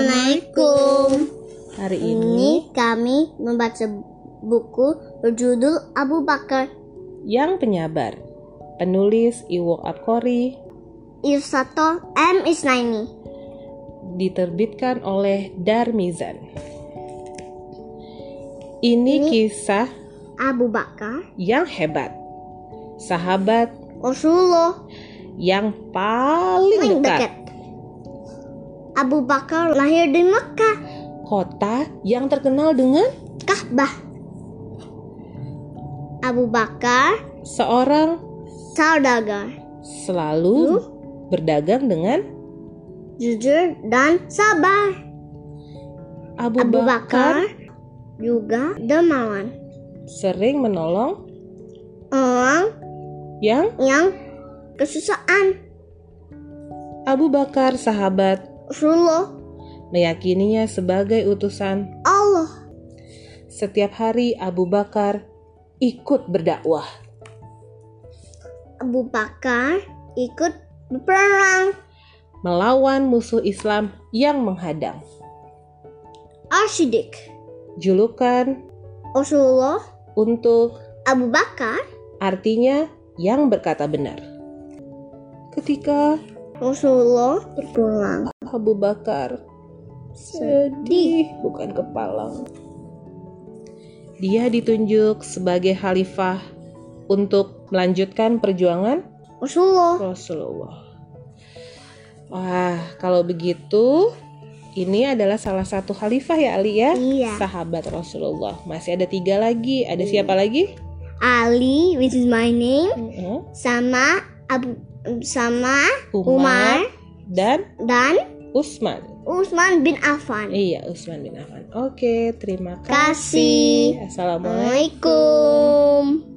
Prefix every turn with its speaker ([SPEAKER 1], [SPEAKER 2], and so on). [SPEAKER 1] Assalamualaikum.
[SPEAKER 2] Hari ini
[SPEAKER 1] Ini kami membaca buku berjudul Abu Bakar
[SPEAKER 2] yang penyabar. Penulis Iwok Akori
[SPEAKER 1] Irsato M. Isnaini.
[SPEAKER 2] diterbitkan oleh Darmizan. Ini kisah
[SPEAKER 1] Abu Bakar
[SPEAKER 2] yang hebat. Sahabat
[SPEAKER 1] Rasulullah
[SPEAKER 2] yang paling
[SPEAKER 1] paling
[SPEAKER 2] dekat.
[SPEAKER 1] dekat. Abu Bakar lahir di Mekah,
[SPEAKER 2] Kota yang terkenal dengan
[SPEAKER 1] Kahbah. Abu Bakar
[SPEAKER 2] seorang
[SPEAKER 1] saudagar,
[SPEAKER 2] selalu berdagang dengan
[SPEAKER 1] jujur dan sabar.
[SPEAKER 2] Abu,
[SPEAKER 1] Abu
[SPEAKER 2] Bakar,
[SPEAKER 1] Bakar juga dermawan.
[SPEAKER 2] sering menolong
[SPEAKER 1] Orang
[SPEAKER 2] yang
[SPEAKER 1] yang kesusahan
[SPEAKER 2] Abu Bakar sahabat
[SPEAKER 1] Rasulullah
[SPEAKER 2] meyakininya sebagai utusan.
[SPEAKER 1] Allah
[SPEAKER 2] Setiap hari Abu Bakar ikut berdakwah.
[SPEAKER 1] Abu Bakar ikut berperang
[SPEAKER 2] melawan musuh Islam yang menghadang.
[SPEAKER 1] Al-Siddiq
[SPEAKER 2] Julukan
[SPEAKER 1] Rasulullah
[SPEAKER 2] untuk
[SPEAKER 1] Abu Bakar
[SPEAKER 2] artinya yang berkata benar. Ketika
[SPEAKER 1] Rasulullah berpulang
[SPEAKER 2] Abu Bakar sedih bukan kepalang. Dia ditunjuk sebagai khalifah untuk melanjutkan perjuangan
[SPEAKER 1] Rasulullah
[SPEAKER 2] Rasulullah. Wah, kalau begitu ini adalah salah satu khalifah ya Ali ya.
[SPEAKER 1] Iya.
[SPEAKER 2] Sahabat Rasulullah. Masih ada tiga lagi. Ada
[SPEAKER 1] Hmm.
[SPEAKER 2] siapa lagi?
[SPEAKER 1] Ali which is my name
[SPEAKER 2] Heeh.
[SPEAKER 1] sama Abu sama
[SPEAKER 2] Umar,
[SPEAKER 1] Umar
[SPEAKER 2] dan
[SPEAKER 1] dan
[SPEAKER 2] Usman.
[SPEAKER 1] Utsman bin Affan
[SPEAKER 2] Iya, Usman bin Affan. Oke, terima kasih.
[SPEAKER 1] Kasih.
[SPEAKER 2] Assalamualaikum.
[SPEAKER 1] Assalamualaikum